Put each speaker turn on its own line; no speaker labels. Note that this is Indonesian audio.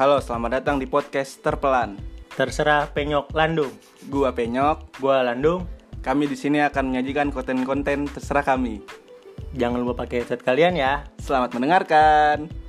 Halo, selamat datang di podcast Terpelan.
Terserah penyok landung.
Gua Penyok.
Gua landung.
Kami di sini akan menyajikan konten-konten terserah kami.
Jangan lupa pakai headset kalian ya.
Selamat mendengarkan.